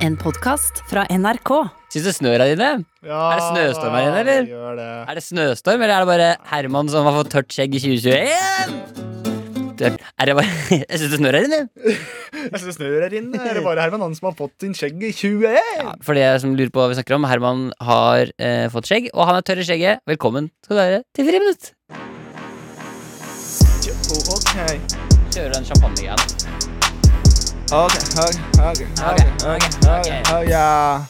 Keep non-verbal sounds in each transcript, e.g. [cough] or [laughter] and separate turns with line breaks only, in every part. En podkast fra NRK.
Syns du snør her inne?
Ja,
Er det snøstorm her inne, eller?
det Gjør det.
Er det snøstorm, eller er det bare Herman som har fått tørt skjegg i 2021? Det- Er det bare [laughs] Jeg syns det snør her inne.
Jeg synes det snør her inne. Er det bare Herman Hansen som har fått sin skjegg i 21?
For de som lurer på hva vi snakker om, Herman har eh, fått skjegg, og han er tørr i skjegget. Velkommen skal du være til Friminutt.
Oh, ok.
Kjører den champagnegreia.
Ok, ok, ok, ok, ok, ok, ok, ja.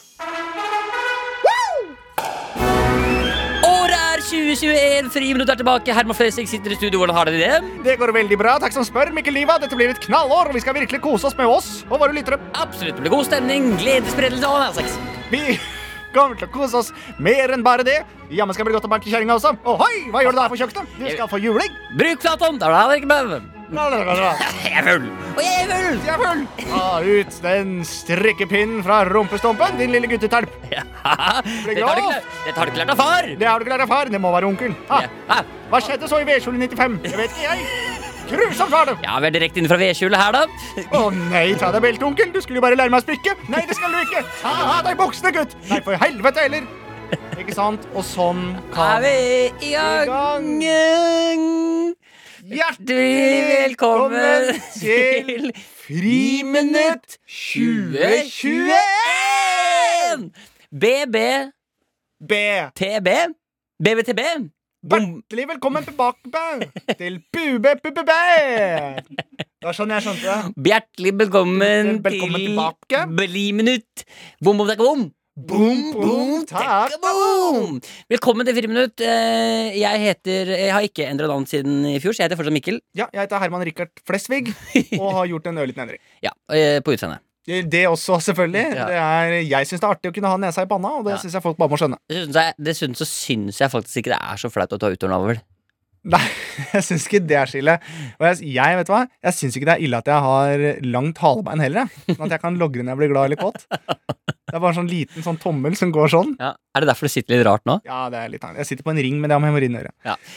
Året er 2021, Friminutt er tilbake. Herman Flesvig sitter i studio. Hvordan har dere det?
Det går veldig bra. Takk som spør, Mikkel Liva. Dette blir et knallår, og vi skal virkelig kose oss med oss og våre lyttere.
Absolutt det blir god stemning, gledesspredelser og all den slags.
Vi [laughs] kommer til å kose oss mer enn bare det. Jammen skal det bli godt å banke kjerringa også. Ohoi, hva gjør du da her på kjøkkenet? Du skal få juling.
Bruk Platon! Da er det ikke med.
Jeg
Jeg er full. Og jeg er full. [laughs]
er full. Ta ut den strikkepinnen fra rumpestumpen, din lille gutteterp.
Ja. Dette har du ikke lært- dette har du ikke lært av far.
Det har du ikke lært av far. Det må være onkel. Ah,
Ja.
hva skjedde så i vedkjole 95? Det vet ikke jeg. Grusomt var det.
Ja, vi er direkte inn fra vedskjulet her, da.
Å nei, ta deg beltet, onkel. Du skulle jo bare lære meg å strikke. Nei, det skal du ikke. Ta av deg buksene, gutt. Nei, for helvete heller. Ikke sant? Og sånn
Er
kan
vi i gang? Hjertelig velkommen til Friminutt 2021! BBTB?
B.
BBTB? Bom-
Hjertelig velkommen tilbake til Bube Bubebe. Det var sånn jeg skjønte det.
Hjertelig velkommen
Velkommen tilbake.
Bliminutt. Bom, bom, takk, bom.
Boom, boom,
Takk,
takk.
boom! Velkommen til Friminutt. Eh, Jeg heter Jeg har ikke endra navn siden i fjor, så jeg heter fortsatt Mikkel.
Ja, jeg heter Herman Rikard Flesvig og har gjort en ørliten endring.
Ja, eh, på utseendet.
Det det også, selvfølgelig.
Ja.
Det er, jeg syns det er artig å kunne ha nesa i panna, og det
Ja.
synes syns jeg folk bare må skjønne. [laughs]
Dessuten så er- Dessuten så syns jeg faktisk ikke det er så flaut å ta utornavl.
Nei, jeg syns ikke det er så ille. Og jeg, jeg vet du hva, jeg syns ikke det er ille at jeg har langt halebein heller. jeg. Sånn at jeg kan logre når jeg blir glad eller
[laughs]
kåt. Det er bare sånn liten sånn tommel som går sånn.
Ja. Er det derfor det sitter litt rart nå?
Ja, det er litt annet. Jeg sitter på en ring, men det har med hemoroiden å gjøre.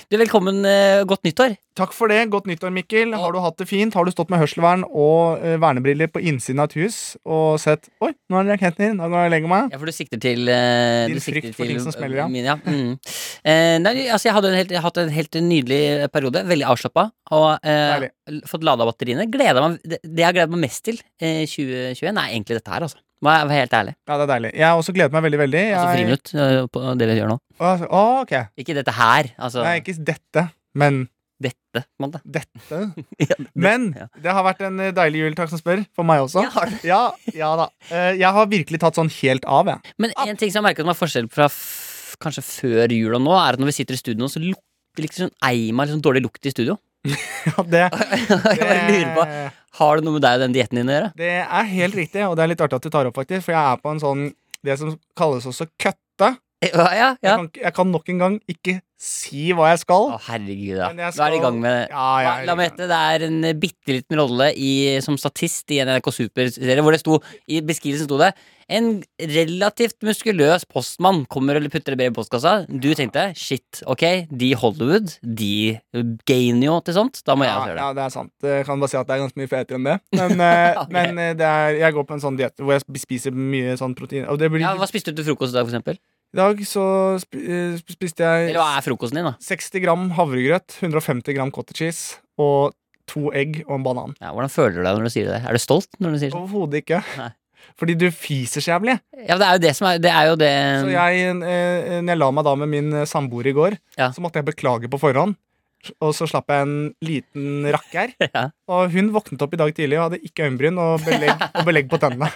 Du, Velkommen. eh, Godt nyttår.
Takk for det. Godt nyttår, Mikkel. Har du hatt det fint? Har du stått med hørselvern og eh, vernebriller på innsiden av et hus og sett Oi, nå er det raketter. Nå går jeg og legger meg.
Ja, for du sikter til eh,
Din
du sikter
frykt for
til,
ting som
eh,
smeller, ja.
Min, ja. Mm. Eh, nei, altså, jeg hadde en helt, jeg hatt en helt nydelig periode. Veldig avslappa. Og eh,
Deilig.
fått lada batteriene. Gleda meg, det, det jeg har gledet meg mest til eh, 2021, er egentlig dette her, altså. Må jeg være helt ærlig.
Ja, det er deilig. Jeg har også gledet meg veldig, veldig. Jeg,
Altså Friminutt, eh, på det vi gjør nå.
Å, å, ok.
Ikke dette her, altså.
Nei, ikke dette, men
Dette, på en
[laughs]
måte.
dette.
Ja, det-
Men
[laughs] ja.
det har vært en eh, deilig jul, takk som spør, for meg også.
Jeg har det.
Ja, ja da. Eh, Jeg har virkelig tatt sånn helt av, jeg. [laughs]
Men en ting som jeg merker som er forskjell fra f kanskje før jul og nå, er at når vi sitter i studio nå, så lukter det liksom eima liksom dårlig lukt i studio. [laughs]
Ja, det,
jeg bare lurer på,
det,
Har det noe med deg og den dietten din å gjøre?
det er helt riktig, og det er litt artig at du tar opp, faktisk, for jeg er på en sånn Det som kalles også køtte.
Ja, ja, ja.
Jeg, kan, ikke- jeg kan nok en gang ikke si hva jeg skal.
Å, herregud, ja.
Men jeg
Da er det i
skal-
gang med
Ja, ja,
La meg gjette, det er en eh, bitte liten rolle i, som statist i en NRK Super-serie hvor det sto I beskrivelsen sto det En relativt muskuløs postmann kommer og putter et brev i postkassa. Du tenkte shit, ok, de i Hollywood, de gainer jo til sånt. Da må jeg
ja,
også gjøre det.
ja, det er sant. Jeg kan bare si at det er ganske mye fetere enn det. Men,
[laughs]
eh,
Ok.
men eh, det er, jeg går på en sånn diett hvor jeg spiser mye sånn protein. Og det blir,
Ja, hva spiste du til frokost i dag, for eksempel?
I dag så sp eh, spiste jeg
Eller hva er frokosten din, da?
60 gram havregrøt, 150 gram cottage cheese og to egg og en banan.
Ja, hvordan føler du deg når du sier det? Er du stolt når du sier det?
Overhodet ikke.
Nei.
Fordi du fiser så jævlig.
Ja, men det er jo det som er Det er jo det
Så jeg, eh, når jeg la meg da med min eh, samboer i går,
Ja.
så måtte jeg beklage på forhånd. Og så slapp jeg en liten rakker.
[laughs] Ja.
Og hun våknet opp i dag tidlig og hadde ikke øyenbryn og belegg,
[laughs]
og belegg på tennene.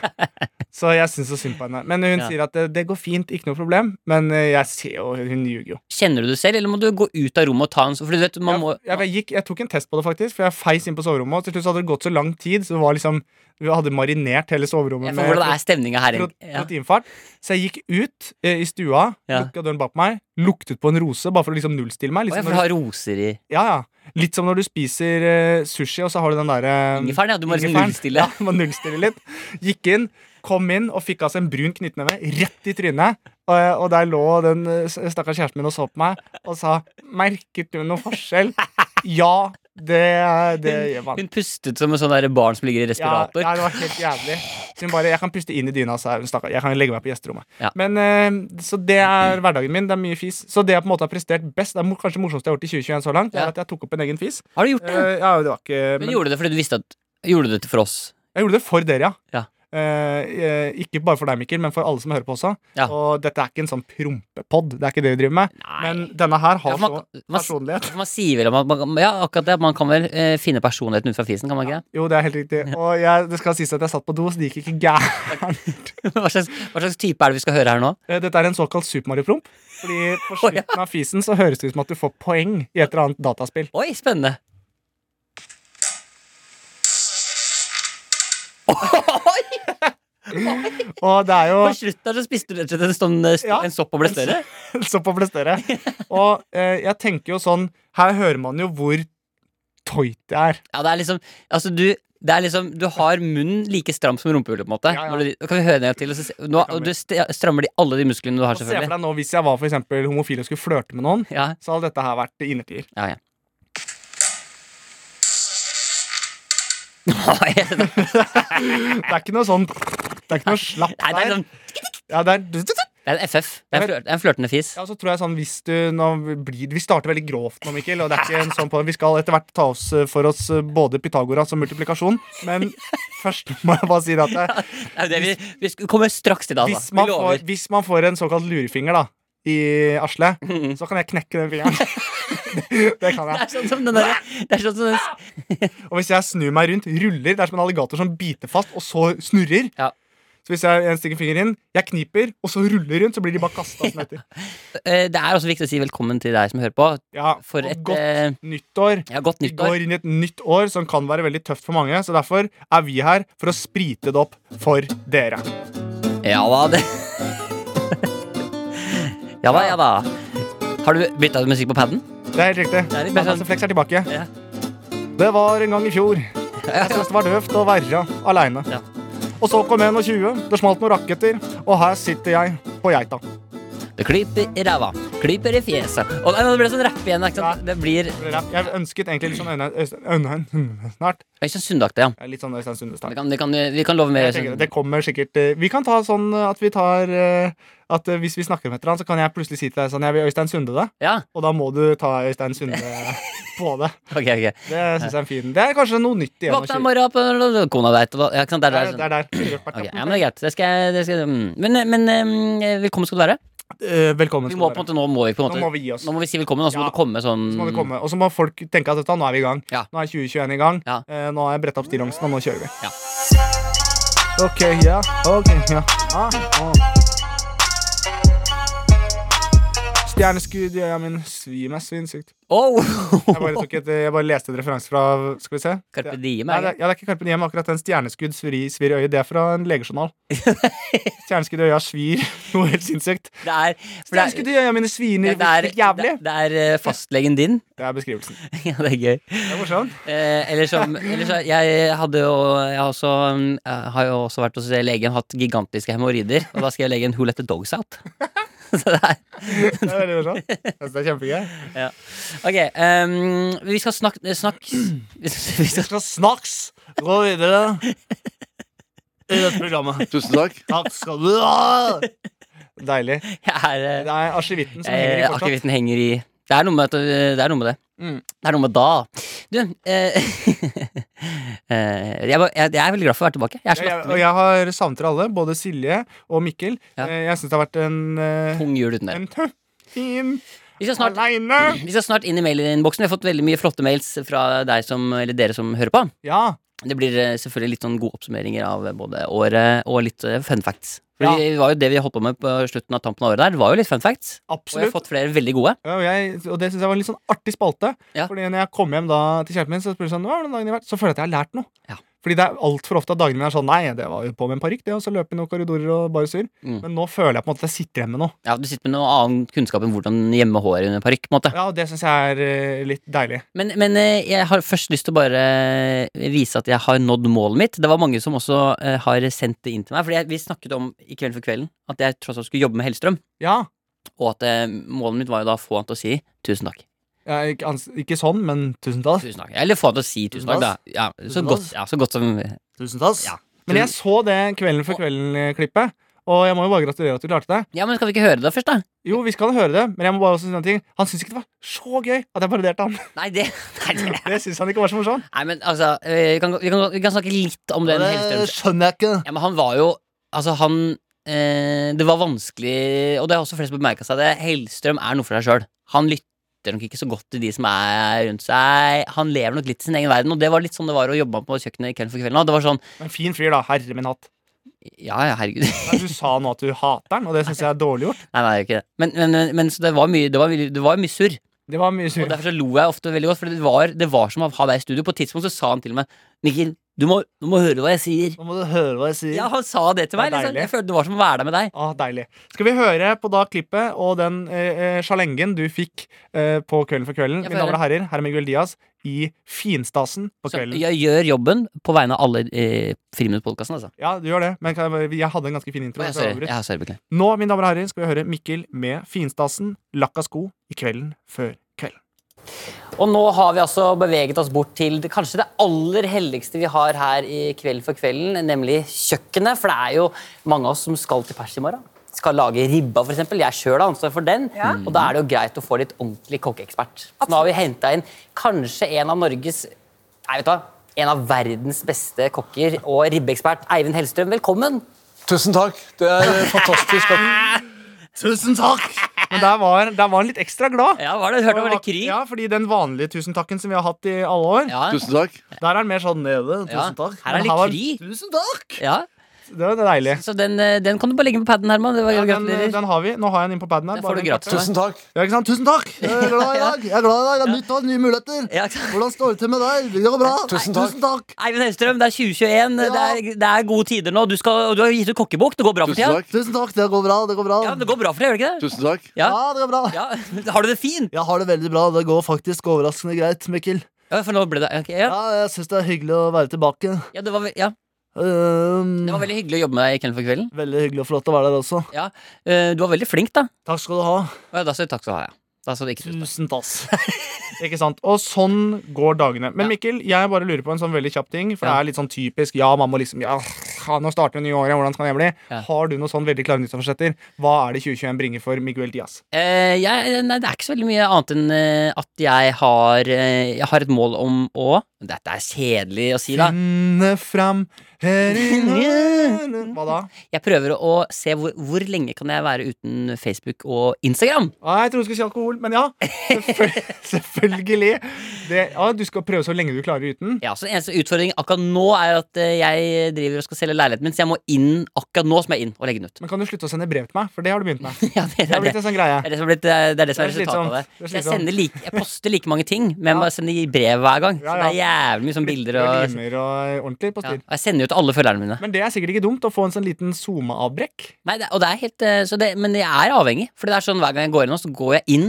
Så jeg syns så synd på henne. Men hun
Ja.
sier at det, det går fint, ikke noe problem. Men eh, jeg ser jo, hun ljuger jo.
Kjenner du det selv, eller må du gå ut av rommet og ta en sånn? For du vet, man må
jeg, jeg, jeg, gikk, jeg tok en test på det, faktisk, for jeg feis inn på soverommet. Og til slutt så hadde det gått så lang tid, så det var liksom Vi hadde marinert hele soverommet
Jeg får hvordan er stemninga her.
pro-
Ja.
proteinfart. Så jeg gikk ut eh, i stua,
Ja.
lukka døren bak meg, luktet på en rose bare for å liksom nullstille meg.
Å,
Litt
jeg
som,
får ha
når du,
roser i
ja, ja. litt som når du spiser eh, sushi, og så har du den eh, derre
ingefæren, ja. Du må liksom
Mm. ingefæren.
nullstille.
[laughs] Ja, må nullstille litt. Gikk inn, kom inn og fikk av seg en brun knyttneve rett i trynet. Og, og der lå den eh, stakkars kjæresten min og så på meg og sa 'Merket du noe forskjell?' [laughs] Ja, Det, er- det gjør man.
Hun pustet som et sånn der barn som ligger i
Ja,
respirator.
ja, det var helt jævlig. Så hun bare, Jeg kan puste inn i dyna, sa hun. Stakkar. Jeg kan legge meg på gjesterommet.
Ja.
Men, eh, så det er hverdagen min. Det er mye fis. Så det jeg på en måte har prestert best, det er mo- kanskje det morsomste jeg har gjort i 2021 så langt, det
Ja.
er at jeg tok opp en egen
[clears throat]
fis.
Har du gjort det?
Eh, ja, det var ikke
Men
men
gjorde du det fordi du visste at Gjorde du det for oss?
Jeg gjorde det for dere, ja.
Ja.
Eh, eh, ikke bare for deg, Mikkel, men for alle som hører på også.
Ja.
Og dette er ikke en sånn prompepod. Det er ikke det vi driver med. Men denne her
Ja,
har
for man,
så
man,
personlighet.
for man sier vel at man, man, Ja, akkurat det. Man kan vel eh, finne personligheten ut fra fisen, kan man ikke det?
Jo, det er helt riktig. Og jeg, det skal sies at jeg satt på do, så det gikk ikke gærent.
[laughs] Hva slags, hva slags type er det vi skal høre her nå?
Eh, Dette er en såkalt Super Mario-promp. Fordi på
Å, ja.
slutten av fisen så høres det ut som at du får poeng i et eller annet dataspill.
Oi, spennende. Oi!
Og det er
På
jo
slutten her så spiste du rett og slett en, sånn, eh, st-
Ja.
en sopp og ble større.
[laughs] så på
[laughs]
større. Og eh, jeg tenker jo sånn Her hører man jo hvor tøyt det er.
Ja, det er liksom Altså, du det er liksom, Du har munnen like stram som rumpehullet. på en måte
Ja, ja.
Når du, Kan vi høre ned til? Og så, se- nå,
kan
og
vi.
du st- strammer de alle de musklene du har,
Og se for
selvfølgelig.
deg nå hvis jeg var for eksempel homofil og skulle flørte med noen,
Ja,
så hadde dette her vært innertier.
ja, ja. Nei, det
Det er ikke noe sånn Det er ikke noe slapp
er, det er,
der.
sånn,
Ja, det er,
det er en FF. Det er en flør- det er en flørtende fis.
ja, og så tror jeg sånn hvis du nå blir, Vi starter veldig grovt nå, Mikkel. Og det er ikke en sånn på Vi skal etter hvert ta oss eh, for oss eh, både Pythagoras og multiplikasjon, men først må jeg bare si det at det,
Det er jo det vi, vi sk- kommer straks til det,
hvis,
altså. Vi
man får,
lover.
hvis man får en såkalt lurefinger da i Asle,
Mhm.
så kan jeg knekke den fingeren. [laughs] Det kan
Det er
jeg.
sånn som den der, det er sånn som den,
Og hvis jeg snur meg rundt, ruller Det er som en alligator som biter fast, og så snurrer.
Ja.
Så hvis jeg jeg stikker fingeren inn, jeg kniper, og så ruller rundt, så blir de bare kasta sånn
[laughs]
etter.
Eh, Det er også viktig å si velkommen til deg som hører på.
Ja,
For
og
et
godt
eh,
nyttår.
ja, godt
Vi
nyttår.
går inn i et nytt år som kan være veldig tøft for mange, så derfor er vi her for å sprite det opp for dere.
Ja da,
[laughs]
det Ja da, ja da. Har du bytta ut musikk på paden?
Det er helt riktig.
Det er litt sånn- bedre enn-
Fantasy Flex er tilbake.
Ja.
Det var en gang i
[laughs]
fjor. Jeg syntes det var døvt å være aleine.
Ja.
Og så kom 21, det smalt noen raketter, og her sitter jeg på geita.
Det klyper i ræva, klyper i fjeset Å nei, nå ble det sånn rapp igjen. Ikke sant? Det blir
Jeg ønsket egentlig litt sånn Øyne- Øystein Øyne- [laughs] Snart.
Øystein Sundaktig, ja.
Ja, Litt sånn Øystein Sunde
Vi
snart.
kan, vi kan, vi kan love mer. sånn-
Jeg tenker, Det kommer sikkert eh, Vi kan ta sånn eh, at vi tar eh, At eh, hvis vi snakker med hverandre, så kan jeg plutselig si til deg sånn Jeg vil Øystein Sunde det.
Ja,
Og da må du ta Øystein
[laughs]
Sunde på det.
ok, ok.
Det synes jeg er fin. Det er kanskje noe nytt i
Våkna i
21.
morgen, på- kona veit og da- ja, ikke sant? Det er
Det er
det er
det
sånn.
er der. Rødt part,
Ok,
ja.
ja, men det er greit. Det skal, det skal, mm. men, men eh, velkommen skal du være.
Eh, Velkommen.
Vi
skal
må
du
på en
være.
måte, nå må vi på en
Nå må
måte
vi gi oss.
Nå må vi si velkommen, og så må
Ja.
det komme sånn
Så må det komme. Og så må folk tenke at dette, nå er vi i gang.
Ja.
Nå er 2021 i gang.
Ja.
Eh, nå har jeg bretta opp stillongsen, og nå kjører vi.
Ja.
Ok, ja. Ok, ja. Ah, ah. Stjerneskudd i øya mine svir meg sinnssykt.
Oh!
Jeg bare, tok et, jeg bare leste en referanse fra Skal vi se.
[laughs] Carpe
Det-
diem,
Nei,
er det?
det, er- ja, det er ikke Carpe Diem. Akkurat den stjerneskudd svir, svir i øyet, det er fra en
[laughs]
legejournal. stjerneskudd i øya svir [laughs] noe helt sinnssykt.
Det er, for det er,
Stjerneskudd i øya mine sviner
det er,
helt jævlig.
det er eh, fastlegen din. [laughs]
Det er beskrivelsen.
ja, det er gøy.
Det er morsomt.
Eh, eller som eller så, Jeg hadde jo Jeg har også, mm, jeg har jo også vært hos legen, hatt gigantiske hemoroider, og da skrev legen 'Who let the dogs out'? [laughs] Så det er
Det er veldig morsomt. Jeg synes det er kjempegøy.
Ok, ehm, vi skal snakke [clears throat] snakk, vi skal- vi
Vi
skal,
skal snaks gå videre i dette programmet.
Tusen takk.
Takk skal du ha! Deilig.
Jeg er
Det er asjevitten som henger i
eh,
fortsatt.
Akevitten henger i Det er noe med, at, eh, det, er noe med det.
Mm.
Det er noe med da. Du, eh, [laughs] eh, jeg, var- jeg, jeg er veldig glad for å være tilbake. Jeg er så
Jeg, jeg,
latterlig.
og jeg har savnet dere alle, både Silje og Mikkel.
Ja.
Eh, Jeg syns det har vært en eh,
Tung jul uten dere.
En tøff fin
Vi skal snart
aleine.
Vi skal snart inn i mailinnboksen. Vi har fått veldig mye flotte mails fra deg som, eller dere som hører på.
Ja.
Det blir eh, selvfølgelig litt sånn gode oppsummeringer av eh, både året og litt eh, fun facts. Fordi
Ja.
det var jo Det vi holdt på med på slutten av tampen av året der, var jo litt fun facts. Og jeg har
Absolutt.
fått flere veldig gode.
Ja, Og, jeg, og det syns jeg var en litt sånn artig spalte.
Ja.
Fordi når jeg kom hjem da til kjæresten min, så spurte jeg sånn, hva har den dagen har vært? Så føler jeg at jeg har lært noe.
Ja.
Fordi det er altfor ofte at dagene mine er sånn Nei, det var jo på med en parykk, det, og så løp i noen korridorer og bare surr.
Mm.
Men nå føler jeg på en måte at jeg sitter igjen med noe.
Ja, Du sitter med noe annen kunnskap enn hvordan gjemme håret under parykk. på en måte.
Ja, og det syns jeg er eh, litt deilig.
Men, men eh, jeg har først lyst til å bare eh, vise at jeg har nådd målet mitt. Det var mange som også eh, har sendt det inn til meg. Fordi jeg, vi snakket om i Kvelden for kvelden at jeg tross alt skulle jobbe med Hellstrøm.
Ja.
Og at eh, målet mitt var jo da å få han til å si tusen takk.
Ja, ikke, ans- ikke sånn, men tusentalls.
Tusen takk. Eller få han til å si tusen takk, da. Ja, så,
Tusen
godt,
takk.
ja, så godt som
Tusentalls.
Ja.
Men jeg så det Kvelden for kvelden-klippet, og jeg må jo bare gratulere at du klarte det.
Ja, men skal vi ikke høre det først, da?
Jo, vi skal høre det, men jeg må bare også si en ting. Han syntes ikke det var så gøy at jeg
[laughs]
parodierte han.
Nei, det Nei, det.
Det synes han ikke var så morsomt.
Nei men altså eh, vi kan, vi, kan, vi kan snakke litt om den
Det
Hellstrøm.
skjønner jeg ikke.
Ja, men han var jo Altså, han eh, Det var vanskelig, og det har også flest bemerka seg det, Hellstrøm er noe for seg sjøl. Han lytter nok ikke så godt til de som er rundt seg. Han lever nok litt i sin egen verden, og det var litt sånn det var å jobbe på kjøkkenet i Kvelden for kvelden. også. Det var sånn
Men fin fyr, da. Herre min hatt.
Ja, ja, herregud. [laughs]
Nei, Du sa nå at du hater han, og det synes jeg er dårlig gjort.
Nei, nei, det er jo ikke det. Men, men, men, men så det var mye, det var mye, det var mye surr.
Det var mye
Og
sur.
derfor så lo jeg ofte veldig godt, for det var, det var som å ha deg i studio. På et tidspunkt så sa han til meg Mikkel, du må, du må høre hva jeg sier.
Nå må du høre hva jeg sier.
Ja, han sa det til meg.
Det er
liksom.
deilig.
Jeg følte det var som å være der med deg.
Ah, deilig. Skal vi høre på da klippet og den eh, eh, sjalengen du fikk eh, på Kvelden for kvelden,
Jeg får
mine damer og herrer, herr Miguel Diaz, i finstasen på
Så
kvelden.
jeg gjør jobben på vegne av alle eh, Friminuttpodkasten, altså.
Ja, du gjør det, men kan jeg, bare- jeg hadde en ganske fin intro.
Å, jeg
så jeg
sorry.
avbryter.
Jeg har sorry, beklager.
Nå, mine damer og herrer, skal vi høre Mikkel med finstasen, lakka sko, i kvelden før kvelden.
Og nå har vi altså beveget oss bort til det, kanskje det aller helligste vi har her i Kveld for kvelden, nemlig kjøkkenet. For det er jo mange av oss som skal til pers i morgen. Skal lage ribba, f.eks. Jeg sjøl har ansvar for den.
Ja.
Og da er det jo greit å få litt ordentlig kokkeekspert. Så Nå har vi henta inn kanskje en av Norges Nei, vet du hva. En av verdens beste kokker og ribbeekspert, Eivind Hellstrøm. Velkommen.
Tusen takk. Det er eh, fantastisk. at-
Tusen takk!
Men der var, der var han litt ekstra glad.
Ja, var det?
Og han var- Ja, fordi den vanlige tusen-takken som vi har hatt i alle år,
Tusen takk.
der er han mer sånn nede.
Ja,
Tusen takk.
Her er
Men her var-
litt krig.
Tusen takk!
Ja.
Det var deilig.
Så den, eh, den kan du bare legge på paden, Herman. Det var
Ja,
eh,
den, eh,
gratulerer.
den har vi. Nå har jeg den inn på paden her.
Den får
bare
du gratis.
en kort.
Tusen takk.
Ja, ikke sant? Tusen
Takk! Jeg er glad i dag. Jeg er glad i dag. Det er nytt år, nye muligheter.
Ja, ikke sant?
Hvordan står det til med deg? Det går bra.
Tusen takk.
Tusen takk.
Eivind Hellstrøm, det er 2021. Det,
Ja.
er, det er gode tider nå. Du, skal, du har gitt ut kokkebok. Det går bra for
Tusen
tida.
takk.
Tusen takk. Det går bra. Det går bra.
Ja, det går bra for deg, gjør det ikke det?
Tusen takk.
Ja.
Ja, det går bra.
Ja. [laughs] Har du det fint?
Jeg har det veldig bra. Det går faktisk overraskende greit, Mikkel.
Ja, for nå ble det ok, ja.
Ja, jeg syns det er hyggelig å være tilbake.
Ja, det var, ve- ja,
Ehm,
det var veldig hyggelig å jobbe med deg i Kvelden for kvelden.
veldig hyggelig og flott å være der også.
Ja. eh, Du var veldig flink, da. Mm.
Takk skal du ha.
Å, Ja, da sa du takk skal du ha. Ja. Da sa du ikke tusen takk.
Tusen tass.
[laughs] Ikke sant? Og sånn går dagene. Men
Ja.
Mikkel, jeg bare lurer på en sånn veldig kjapp ting. For
Ja.
det er litt sånn typisk ja, man må liksom ja, ja, nå starter det nye året, hvordan skal jeg bli?
Ja.
Har du noen sånn veldig klare nyttårsforsetter? Hva er det 2021 bringer for Miguel Diaz?
Eh, jeg, nei, det er ikke så veldig mye annet enn eh, at jeg har, eh, jeg har et mål om å Dette er kjedelig å si, da.
Finne fram her i verden. Hva da?
Jeg prøver å se hvor, hvor lenge kan jeg være uten Facebook og Instagram.
Ah, jeg trodde du skulle si alkohol, men ja.
[laughs]
Selvfølgelig. selvfølgelig. Det, ja, du skal prøve så lenge du klarer uten.
Ja, så den eneste utfordringen akkurat nå er at eh, jeg driver og skal selge leiligheten min, så jeg må inn akkurat nå som jeg er inn og legge den ut. [laughs]
Men kan du slutte å sende brev til meg? For det har du begynt med.
Ja, det,
Det
er
har
det.
blitt en sånn greie.
Det er det som er, blitt, det er, det er, det som er
Det er
resultatet av det.
slitsomt.
Så
Det er
Jeg,
slitsomt.
sender like, jeg poster like mange ting, men jeg bare sender i brev hver gang. Så
Ja,
det
ja.
er jævlig mye sånn bilder og
og limer og ordentlig på
ja,
styr.
og Jeg sender jo til alle følgerne mine.
Men det er sikkert ikke dumt å få en sånn liten SoMe-avbrekk.
Nei, det, og det er helt, eh, så det, men jeg er avhengig. For det er sånn hver gang jeg går inn nå, så går jeg inn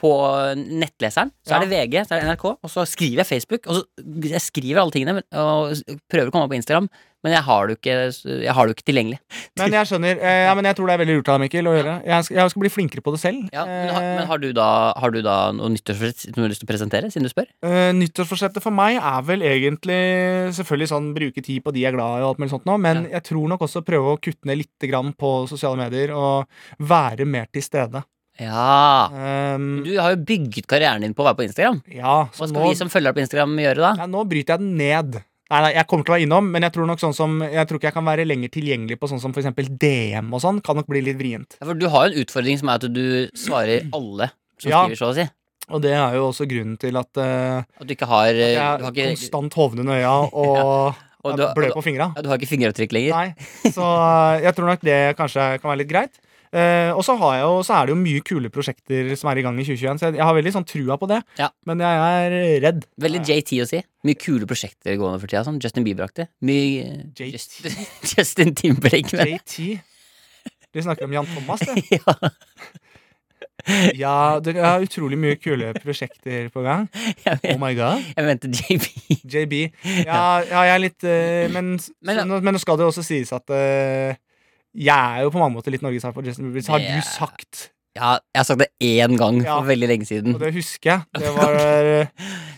på nettleseren. Så
Ja.
er det VG, så er det NRK, og så skriver jeg Facebook. Og så jeg skriver alle tingene men- og s- prøver å komme meg på Instagram, men jeg har det jo ikke, jeg har det jo ikke tilgjengelig.
Men jeg skjønner, eh, ja, men jeg tror det er veldig lurt av deg, Mikkel, å gjøre. Jeg skal, jeg skal bli flinkere på det selv.
Ja, men, har,
Eh,
men har, du da, har du da noe nyttårsforsett som du har lyst til å presentere, siden du spør?
eh, nyttårsforsettet for meg er vel egentlig selvfølgelig sånn bruke tid på de jeg er glad i, og alt mulig sånt nå, men jeg tror nok også prøve å kutte ned litt grann på sosiale medier og være mer til stede.
Ja.
Um,
Du har jo bygget karrieren din på å være på Instagram.
ja,
Hva
så
skal
nå,
vi som følger deg på Instagram gjøre da?
ja, nå bryter jeg den ned. Nei, nei, Jeg kommer til å være innom, men jeg tror nok sånn som Jeg tror ikke jeg kan være lenger tilgjengelig på sånn som for eksempel DM og sånn. Kan nok bli litt vrient.
Ja, For du har jo en utfordring som er at du svarer alle som
Ja.
skriver, så å si.
Og det er jo også grunnen til at eh,
At du ikke har, eh,
jeg
du
er
har ikke,
konstant
[laughs]
hovne under øya og,
og
er
du har-
blø på fingra.
ja, du har ikke fingeravtrykk lenger.
Nei, så eh, jeg tror nok det kanskje kan være litt greit. Eh, og så, har jeg jo, så er det jo mye kule prosjekter som er i gang i 2021, så jeg, jeg har veldig sånn trua på det.
Ja.
Men jeg er redd.
Veldig JT å si. Mye kule prosjekter gående for tida. Sånn. Justin Bieber-aktig. Mye eh,
JT.
Just, [laughs] Justin Timberlake. Men.
JT. De snakker om Jan Thomas, det.
[laughs] Ja,
Ja, det er utrolig mye kule prosjekter på gang.
jeg,
Oh
men,
my god.
[laughs] jeg mente JB.
JB.
[laughs]
Ja, ja jeg er litt eh, Men,
[clears throat] Men-
så, nå- men nå skal det jo også sies at eh, jeg er jo på mange måter litt norgesherre på Justin Bieber. Så har
Det er-
du sagt
Ja, jeg har sagt det én gang
Ja.
for veldig lenge siden.
Og det husker
[laughs]
jeg. Det var, eh,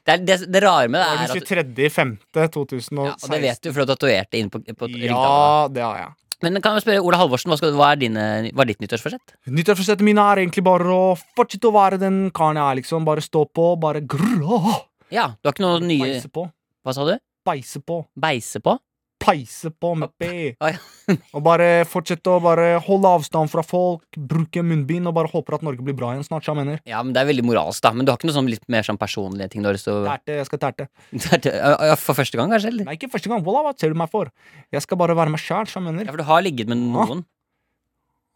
Det, er, det, det rare med
det
det
var
er
den
at
23.5.2016.
ja, og Det vet du, for du tatoverte inn på, på ringtavla.
Ja, det har jeg.
Men kan jeg spørre, Ola Halvorsen, hva, skal, hva er dine, hva er ditt nyttårsforsett?
Nyttårsforsettet mine er egentlig bare å fortsette å være den karen jeg er, liksom. Bare stå på, bare grrr, åh,
Ja, du har ikke noe nye
Peise på.
Hva sa du?
Peise på.
Beise på?
Peise på med P.
[laughs] Å, ja.
Og bare fortsette å bare holde avstand fra folk, bruke munnbind og bare håper at Norge blir bra igjen snart. så Jeg mener.
Ja, men Det er veldig moralsk, da. Men du har ikke noe sånn litt mer sånn personlige ting? Du har lyst til å
Terte, jeg skal terte.
Det er- [laughs] ja, For første gang, kanskje? Eller?
Nei, ikke første gang. Wallah, hva ser du meg for? Jeg skal bare være meg sjæl, så jeg
Ja,
mener.
for du har ligget med noen.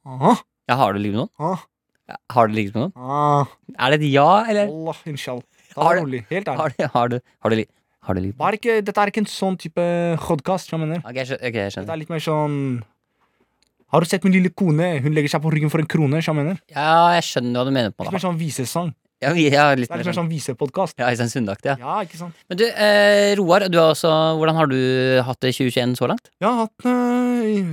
Aha,
Ja, Har du ligget med noen?
aha,
Ja, Har du ligget med noen?
aha.
Er det et ja, eller?
Wallah, inshallah. Ta
Har
det
du-
rolig. Helt ærlig.
Har du, har du, har du, li- har du ligget med
Bare ikke, dette er ikke en sånn type hodkast, så jeg mener.
Ok, jeg skjø- ok, jeg
Dette
skjønner.
er litt mer sånn Har du sett min lille kone? Hun legger seg på ryggen for en krone, så jeg mener.
Ja, jeg skjønner hva du mener på
Litt
det.
mer sånn visesang.
Ja, vi- ja, litt
Det
mer
er litt mer
sånn
sånn visepodkast.
ja, Øystein Sundaktig, ja.
Ja, ikke sant.
Men du, eh, Roar, du har også, hvordan har du hatt det i 2021 så langt?
Jeg har hatt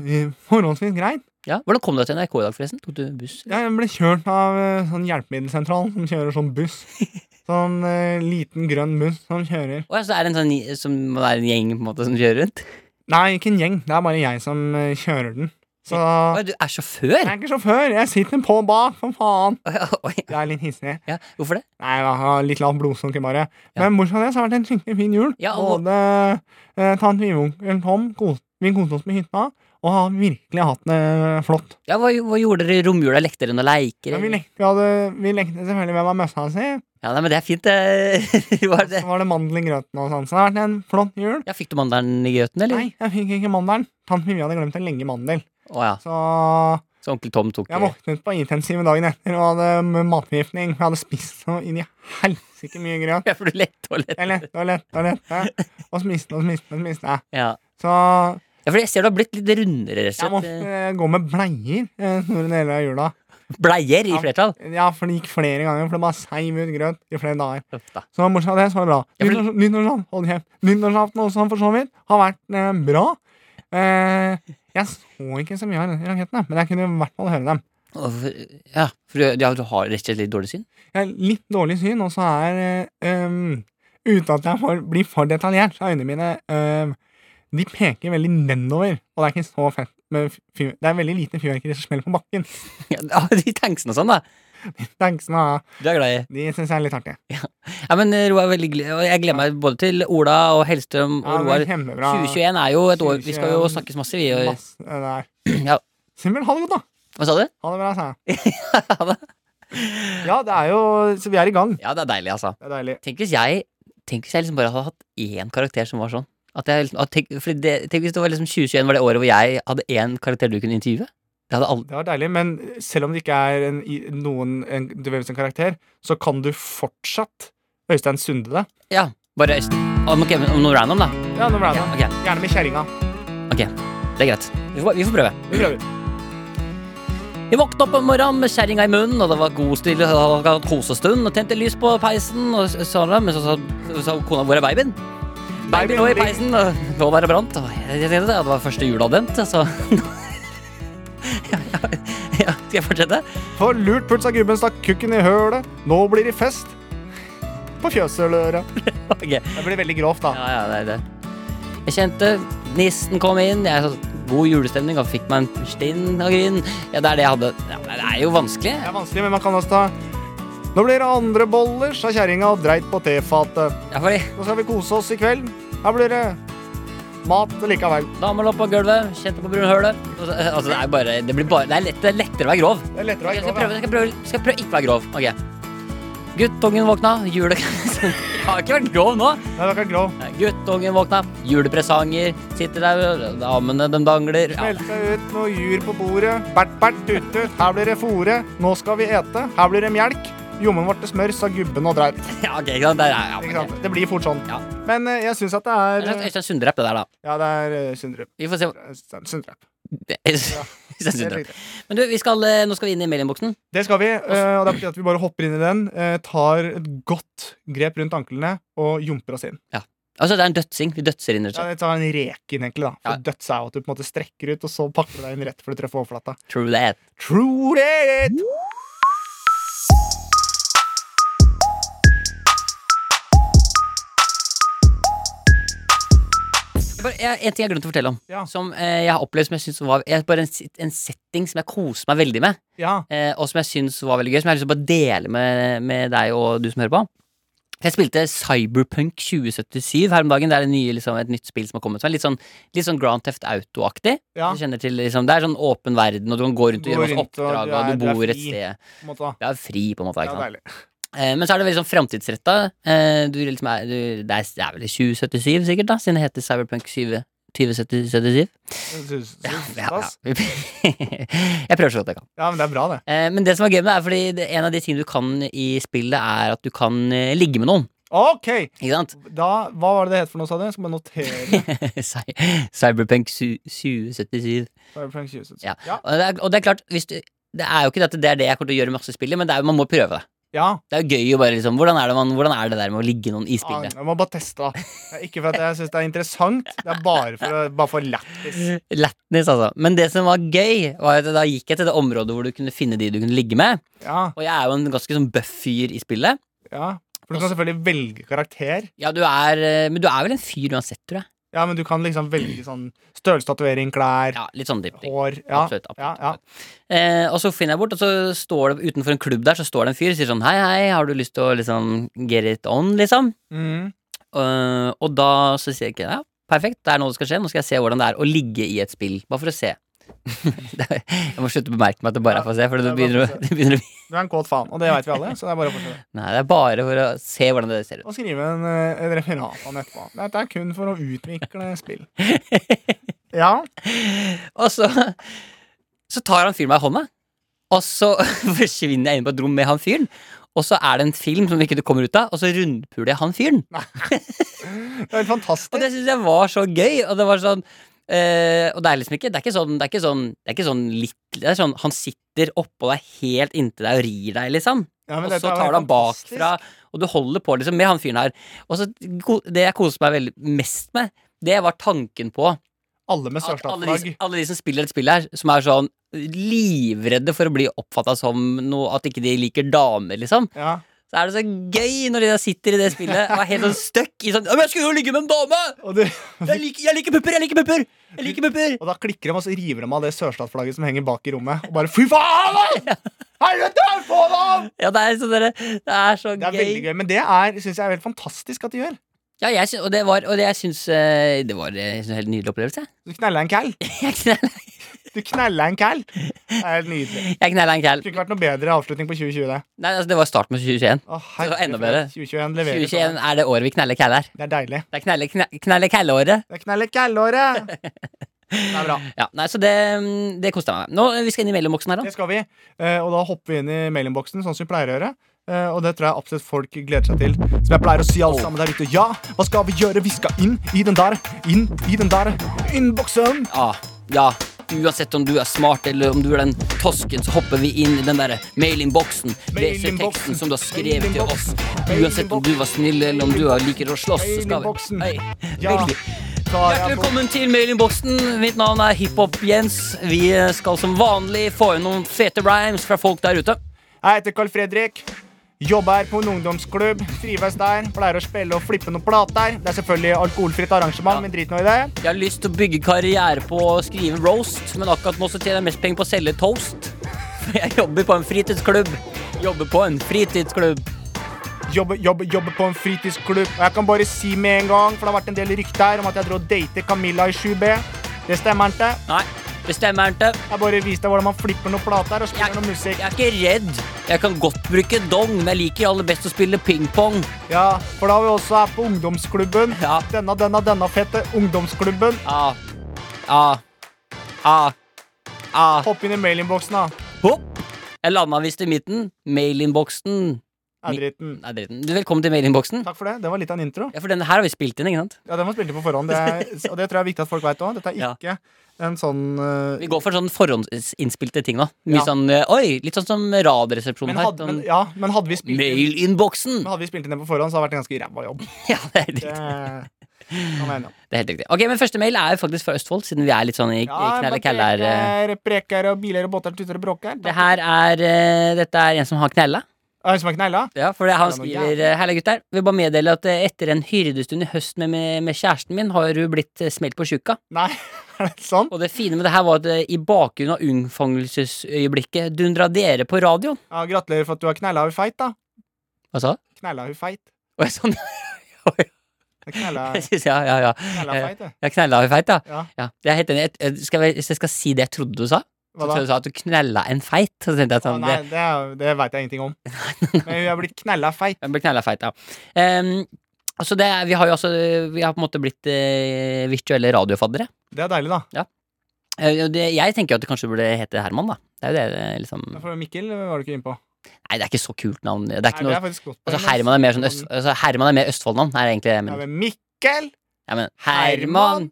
det forholdsvis greit.
Ja, Hvordan kom du deg til NRK i dag, forresten? Tok du buss? eller?
Jeg ble kjørt av eh, sånn hjelpemiddelsentralen som kjører sånn
[laughs]
buss. Sånn eh, liten grønn buss som kjører.
Å, ja, så det er en sånn gj- som det er en gjeng på en måte som kjører rundt?
Nei, ikke en gjeng. Det er bare jeg som eh, kjører den. Så
Å,
jeg
du er sjåfør?
er ikke sjåfør. Jeg sitter på bak, for faen.
Å, ja, oi,
Jeg er litt hissig.
ja. Hvorfor det?
Nei, jeg har litt lavt blodsukker, bare.
Ja.
Men bortsett fra det, så har det vært en skikkelig fin jul.
Ja, og-
Både eh, tante Vivi og onkel Tom kos- vi koste oss med hytta, og har virkelig hatt det eh, flott.
Ja, hva, hva gjorde dere i romjula? Lekte dere noen leker?
Ja, vi,
eller?
lekte, vi, hadde, vi lekte selvfølgelig hvem var møssa si.
Ja, nei, men det er fint, det. [laughs] Roar,
Så
det.
var det mandel i grøten og sånn. Så det har vært en flott jul.
Ja, fikk du mandelen i grøten, eller?
Nei, jeg fikk ikke mandelen. Tante Vivi hadde glemt en lenge mandel.
Å, ja.
Så
Så onkel Tom tok
jeg
[laughs]
våknet på intensiven dagen etter og hadde eh, matforgiftning. Jeg hadde spist så inn i helsike mye grøt.
Ja, for du lette og lette.
Jeg lette og lette og lette. Og smiste og smiste og smiste.
Ja.
Så
ja, for jeg ser du har blitt litt rundere, rett
jeg
og
måtte
slett.
eh, gå med bleier eh, store deler av jula.
Bleier i
Ja.
flertall.
Ja, for det gikk flere ganger, for det bare seiv ut grøt i flere dager.
Uff da.
Så morsomt av det, så var det bra.
Ja, for-
Nyttårs- Nyttårsaften, hold kjeft. Nyttårsaften også, for så vidt, har vært eh, bra. Eh, jeg så ikke så mye av rakettene, men jeg kunne i hvert fall høre dem.
Å, for- Ja, for du, ja, du har rett og slett litt dårlig [laughs] syn?
Jeg har litt dårlig syn, og så er eh, em, Uten at jeg får, blir for detaljert, så er øynene mine em, De peker veldig nedover, og det er ikke så fett. Med fyr, det er veldig lite fyrverkeri som smeller på bakken. [laughs]
Ja, de tanksene og sånn, da.
Tanksene,
Du er glad i
de syns jeg er litt artig.
Ja, men eh, Roar, veldig gle- og jeg gleder meg både til Ola og Hellstrøm og
Ja, det
Roar.
er kjempebra.
2021 er jo et år Vi skal jo
2021.
snakkes masse, vi. Og,
Masse, det er.
[clears throat] ja.
Simen, ha det godt, da.
Hva sa du?
Ha det bra, sa jeg.
Ha det.
Ja, det er jo Så vi er i gang.
Ja, det er deilig, altså.
Det er deilig.
Tenk hvis jeg Tenk hvis jeg liksom bare hadde hatt én karakter som var sånn. At jeg, liksom- at tenk, fordi det, tenk hvis det var liksom 2021 var det året hvor jeg hadde én karakter du kunne intervjue. Det hadde aldri
Det var deilig, men selv om det ikke er en, i- noen en, du vet, en karakter, så kan du fortsatt Øystein Sunde det.
Ja, bare Øystein. Om, ok, men om noe random, da.
Ja, nå ble det
Ok,
Gjerne med kjerringa.
ok, Det er greit. Vi får, vi får prøve.
Vi prøver.
Jeg våkna opp om morgenen med kjerringa i munnen, og det var god stille og det var kosestund. Og tente lys på peisen, og s- sa det, men så sa, så sa kona 'hvor er babyen?' Babyen lå i peisen, og lå der og brant. Og jeg tenkte det, det var første juleadvent, så [laughs] ja, ja, ja, Skal jeg fortsette? [laughs]
For lurt puls av gubben stakk kukken i hølet. Nå blir det fest på fjøsøløret.
Ok.
Det blir veldig grovt, da.
Ja, ja, det er det. Jeg kjente nissen kom inn. Jeg hadde god julestemning og fikk meg en stinn og gryn. Ja, det er det jeg hadde. Ja, det er jo vanskelig.
Det er vanskelig, men man kan også ta Nå blir det andre boller, sa kjerringa og dreit på tefatet.
Ja, fordi
Nå skal vi kose oss i kveld. Her blir det mat likevel.
Dama lå på gulvet, kjente på brunhølet. Og så- Altså, det er bare Det, blir bare, det, er lett, det er lettere å være grov.
Det er lettere å
Ok, jeg
være
skal
grov.
prøve, jeg skal prøve, skal prøve ikke å være grov. Ok. Guttungen våkna, jule... [laughs] Jeg har ikke vært grov nå.
ja. Nei, du er ikke grov.
Guttungen våkna, julepresanger. Sitter der, og damene de dangler. Ja,
Meldte ut noe jur på bordet. Bert, bert, tut, tut. Her blir det fôre. Nå skal vi ete. Her blir det melk. Jommen vårt til smør, sa gubben og dreit.
[laughs] ja ok, ikke sant. Der, er- ja,
Ikke
men
sant? Det blir fort sånn.
Ja.
Men eh, jeg syns at det
det- det er
er
et Øystein Sundrepp, det der, da.
Ja, det er eh, Sundrup.
Vi får se. hva-
Sundrup.
Det- [laughs] Øystein
Helt
Sundrepp.
riktig.
Men du, vi skal, eh, nå skal vi inn i mailinnboksen.
Det skal vi, eh, og det betyr at vi bare hopper inn i den, eh, tar et godt grep rundt anklene og jumper oss inn.
Altså, det er en dødsing. Vi dødser inn. rett og
Ja,
slett.
det tar en reke inn, egentlig. da For
Ja.
Døds er jo at du på en måte strekker ut, og så pakker du deg inn rett før du treffer overflata.
True that.
True it!
Bare, jeg, en ting jeg glemte å fortelle om,
Ja.
som eh, jeg har opplevd som jeg synes var jeg, Bare en, sit- en setting som jeg koser meg veldig med,
Ja.
eh, og som jeg syns var veldig gøy, som jeg har lyst til å bare dele med, med deg og du som hører på. Jeg spilte Cyberpunk 2077 her om dagen. Det er det nye, liksom, et nytt spill som har kommet. Som er litt sånn, litt sånn Grand Theft Auto-aktig.
Ja.
Du kjenner til, liksom, Det er sånn åpen verden, og du kan gå rundt og
Gå
gjøre masse
rundt, og
oppdrag,
du
og
er-
du
du er
bor et
fri.
sted.
på en måte, da.
Du er fri, på en måte.
Ja,
Ikke sant?
deilig.
Eh, Men så er det veldig sånn framtidsretta. Eh, Du liksom er, du, det er, det er vel i 2077 sikkert, da, siden det heter Cyberpunk 20 2077.
Jeg synes- synes-
[laughs]
synes,
Ja,
ass.
ja. jeg prøver så godt jeg kan.
ja, men det er bra, det.
Eh, Men det som er gøy med det, er fordi det- en av de tingene du kan i spillet, er at du kan eh, ligge med noen.
OK!
Ikke sant? [laughs]
Da, hva var det det het for noe, sa du? Jeg skal bare notere.
Cy- Cyberpunk su- 2077.
Cyberpunk 2077.
Ja.
Ja.
Og det er, og det er klart, hvis du det er jo ikke det at det er det jeg kommer til å gjøre i masse spillet, men det er, man må prøve det.
ja.
Det er jo gøy å bare liksom Hvordan er det, man, hvordan er det der med å ligge noen i
Ah,
spillet?
jeg må bare teste, da. Det er Ikke for at jeg syns det er interessant, det er bare for, å- bare for lættis.
Lættis, altså. Men det som var gøy, var at da gikk jeg til det området hvor du kunne finne de du kunne ligge med.
Ja,
Og jeg er jo en ganske sånn bøff fyr i spillet.
ja. For du kan selvfølgelig velge karakter.
Ja, du er eh, Men du er vel en fyr uansett, tror jeg.
Ja, men du kan liksom velge sånn størrelse, tatovering, klær,
Ja, litt sånn type ting.
hår Ja,
Absolutt, absolutt,
ja, ja.
Eh, og så finner jeg bort, og så står det utenfor en klubb der Så står det en fyr og sier sånn Hei, hei, har du lyst til å liksom get it on, liksom?
Mm.
Eh, og da så sier jeg ikke Ja, perfekt, det er nå det skal skje. Nå skal jeg se hvordan det er å ligge i et spill. Bare for å se. [laughs] jeg må slutte å bemerke meg at det bare er for å se, for det
Ja, det er
begynner, å-
bare for å
det begynner å
Du er en kåt faen, og det veit vi alle. Så det er bare å fortsette.
Nei, det er bare for å se hvordan det ser ut.
Og skrive en, eh, en referat av den etterpå. Dette er kun for å utvikle spill.
[laughs]
Ja.
Og så, så tar han fyren meg i hånda, og så [laughs] forsvinner jeg inn på et rom med han fyren. Og så er det en film som ikke du kommer ut av, og så rundpuler jeg han fyren.
Det er helt
Og
fantastisk.
det syns jeg var så gøy. Og det var sånn eh, Og det er liksom ikke Det er ikke sånn Det er ikke sånn, det er ikke sånn litt Det er sånn han sitter oppå deg helt inntil deg og rir deg, liksom.
Ja,
Og
men dette
så
er jo
tar du
helt
han
fantastisk.
bakfra, og du holder på liksom med han fyren her. Og så ko- Det jeg koste meg veldig mest med, det var tanken på
Alle med
at alle de, som-
sørstatsflagg.
alle de som spiller et spill her, som er sånn livredde for å bli oppfatta som noe At ikke de liker damer, liksom.
Ja.
Så er det så gøy når de da sitter i det spillet og er helt sånn stuck i sånn «Ja, men 'Jeg skulle jo ligge med en dame!
Og, du,
Jeg liker, jeg liker pupper! Jeg liker pupper!' Jeg liker pupper
og da klikker de, og så river de av det sørstatsflagget som henger bak i rommet. Og bare fy faen! da! Helvete! Få dem!
Ja, det er, så dere, det er så
Det er veldig
gøy.
gøy. Men det er, syns jeg er helt fantastisk at de gjør.
Ja, jeg syns- og det var, og det, jeg syns eh, det var eh, jeg syns det var en helt nydelig opplevelse. [laughs]
Du knella en cal.
Jeg knella
Du knella en cal. Det er helt nydelig.
jeg knella en kæl.
Det kunne ikke vært noe bedre avslutning på 2020, det.
Nei, altså, det var starten på 2021.
Å,
Det var enda bedre.
2021 leverer.
2021 er det året vi kneller kæler.
Det er deilig.
Det er knelle, kne- knelle kæleåret.
Det er knelle kallåret. Det er bra.
Ja, nei, så det, mm, det koste jeg meg med. Nå, eh, Vi skal inn i mellomboksen her, da.
Det skal vi. Eh, og da hopper vi inn i mailinnboksen, sånn som vi pleier å gjøre. Eh, og det tror jeg absolutt folk gleder seg til. Som jeg pleier å si alle sammen der ute. Ja, hva skal vi gjøre? Vi skal inn i den der, inn i den der innboksen.
Ja, Ah, ja. Uansett om du er smart eller om du er den tosken, så hopper vi inn i den derre mailinnboksen. Leser
Mailinnboksen.
teksten som du har skrevet til oss.
Mailinnboksen.
Uansett om du var snill eller om du er- liker å slåss, så skal vi
Mailinnboksen.
Hei,
Ja.
Hyggelig.
Da er
Hjertelig
jeg på-
velkommen til mailinnboksen. Mitt navn er Hiphop-Jens. Vi skal som vanlig få inn noen fete rhymes fra folk der ute.
Jeg heter Carl Fredrik. Jobber på en ungdomsklubb. Trives der. Pleier å spille og flippe noen plater. Det er selvfølgelig alkoholfritt arrangement, men drit nå i det.
Jeg har lyst til å bygge karriere på å skrive roast, men akkurat nå så tjener jeg mest penger på å selge toast. [laughs] For jeg jobber på en fritidsklubb. Jobber på en fritidsklubb.
Jobber jobbe, jobbe på en fritidsklubb. Og jeg kan bare si med en gang, for det har vært en del rykter om at jeg dro og datet Camilla i 7B. Det stemmer ikke.
Nei, det stemmer ikke.
Jeg bare viste deg hvordan man flipper noen plater og spiller
Jeg-
noe musikk.
Jeg er ikke redd. Jeg kan godt bruke dong, men jeg liker aller best å spille pingpong.
Ja, for da er vi også her på ungdomsklubben.
Ja.
Denne, denne, denne fette ungdomsklubben.
Ah. Ah. Ah. Ah.
Hopp inn i mailinnboksen, da.
Hopp. Jeg landa visst i midten. Mailinnboksen.
Er dritten.
Nei, dritten. Du, Velkommen til mailinnboksen.
Takk for det. Det var litt av en intro.
Ja, for denne her har vi spilt inn, ikke sant?
Ja, Den var spilt inn på forhånd, det er,
[laughs]
og det tror jeg er viktig at folk veit òg. Dette er
Ja.
ikke en sånn eh,
Vi går for sånn forhåndsinnspilte ting nå. Mye
Ja.
sånn eh, Oi! Litt sånn som Radioresepsjonen
men,
her.
hadde, men,
Sånn,
ja, men hadde vi spilt inn
Mailinnboksen!
men hadde vi spilt inn den på forhånd, så hadde det vært en ganske ræva jobb.
[laughs] Ja, det er,
Det,
riktig. [laughs]
kan være enig om.
det er helt riktig. Ok, Men første mail er jo faktisk fra Østfold, siden vi er litt sånn i, i knelle kæller. eh.
preker, preker og biler og båter tuter og bråker.
Det her er eh, Dette er en som har knella.
Har du smakt negla?
Ja, for det, han
Det er noe
skriver eh, Herlig gutter, vil bare meddele at eh, etter en hyrdestund i høst med, med, med kjæresten min, har hun blitt eh, smelt på tjukka.
Nei, [laughs] er det sånn?
Og det fine med det her var at eh, i bakgrunnen av unnfangelsesøyeblikket dundra dere på radioen.
Ja, gratulerer for at du har knella hun feit, da.
Hva sa du?
Knella hun feit.
Og jeg sånn
Det er Knella,
jeg synes, [laughs] Ja, [laughs] ja, ja.
knella feit, det.
Jeg knella en feit, ja.
Ja.
ja. Jeg er helt enig. Jeg- jeg- Skal jeg, hvis jeg skal si det jeg trodde du sa, så
Hva da?
trodde du sa at du knella en feit. Så tenkte jeg
Å,
sånn,
nei,
det,
det, er- det veit
[laughs]
jeg ingenting om. Men hun er blitt knella feit.
jeg ble knella feit, ja. Ehm, så det, er- vi har jo altså Vi har på en måte blitt eh, virtuelle radiofaddere.
Det er deilig, da.
Eh, og det, jeg tenker jo at det kanskje burde hete Herman, da. Det er jo det, det liksom
For Mikkel var du ikke innpå.
Nei, det er ikke så kult navn. Det er ikke
Nei, det
noe
er faktisk godt.
Altså
men-
Herman er mer sånn øst, altså, Herman er mer Østfold-navn. Er det egentlig det jeg
Ja,
mener.
men Mikkel!
Ja, men Herman!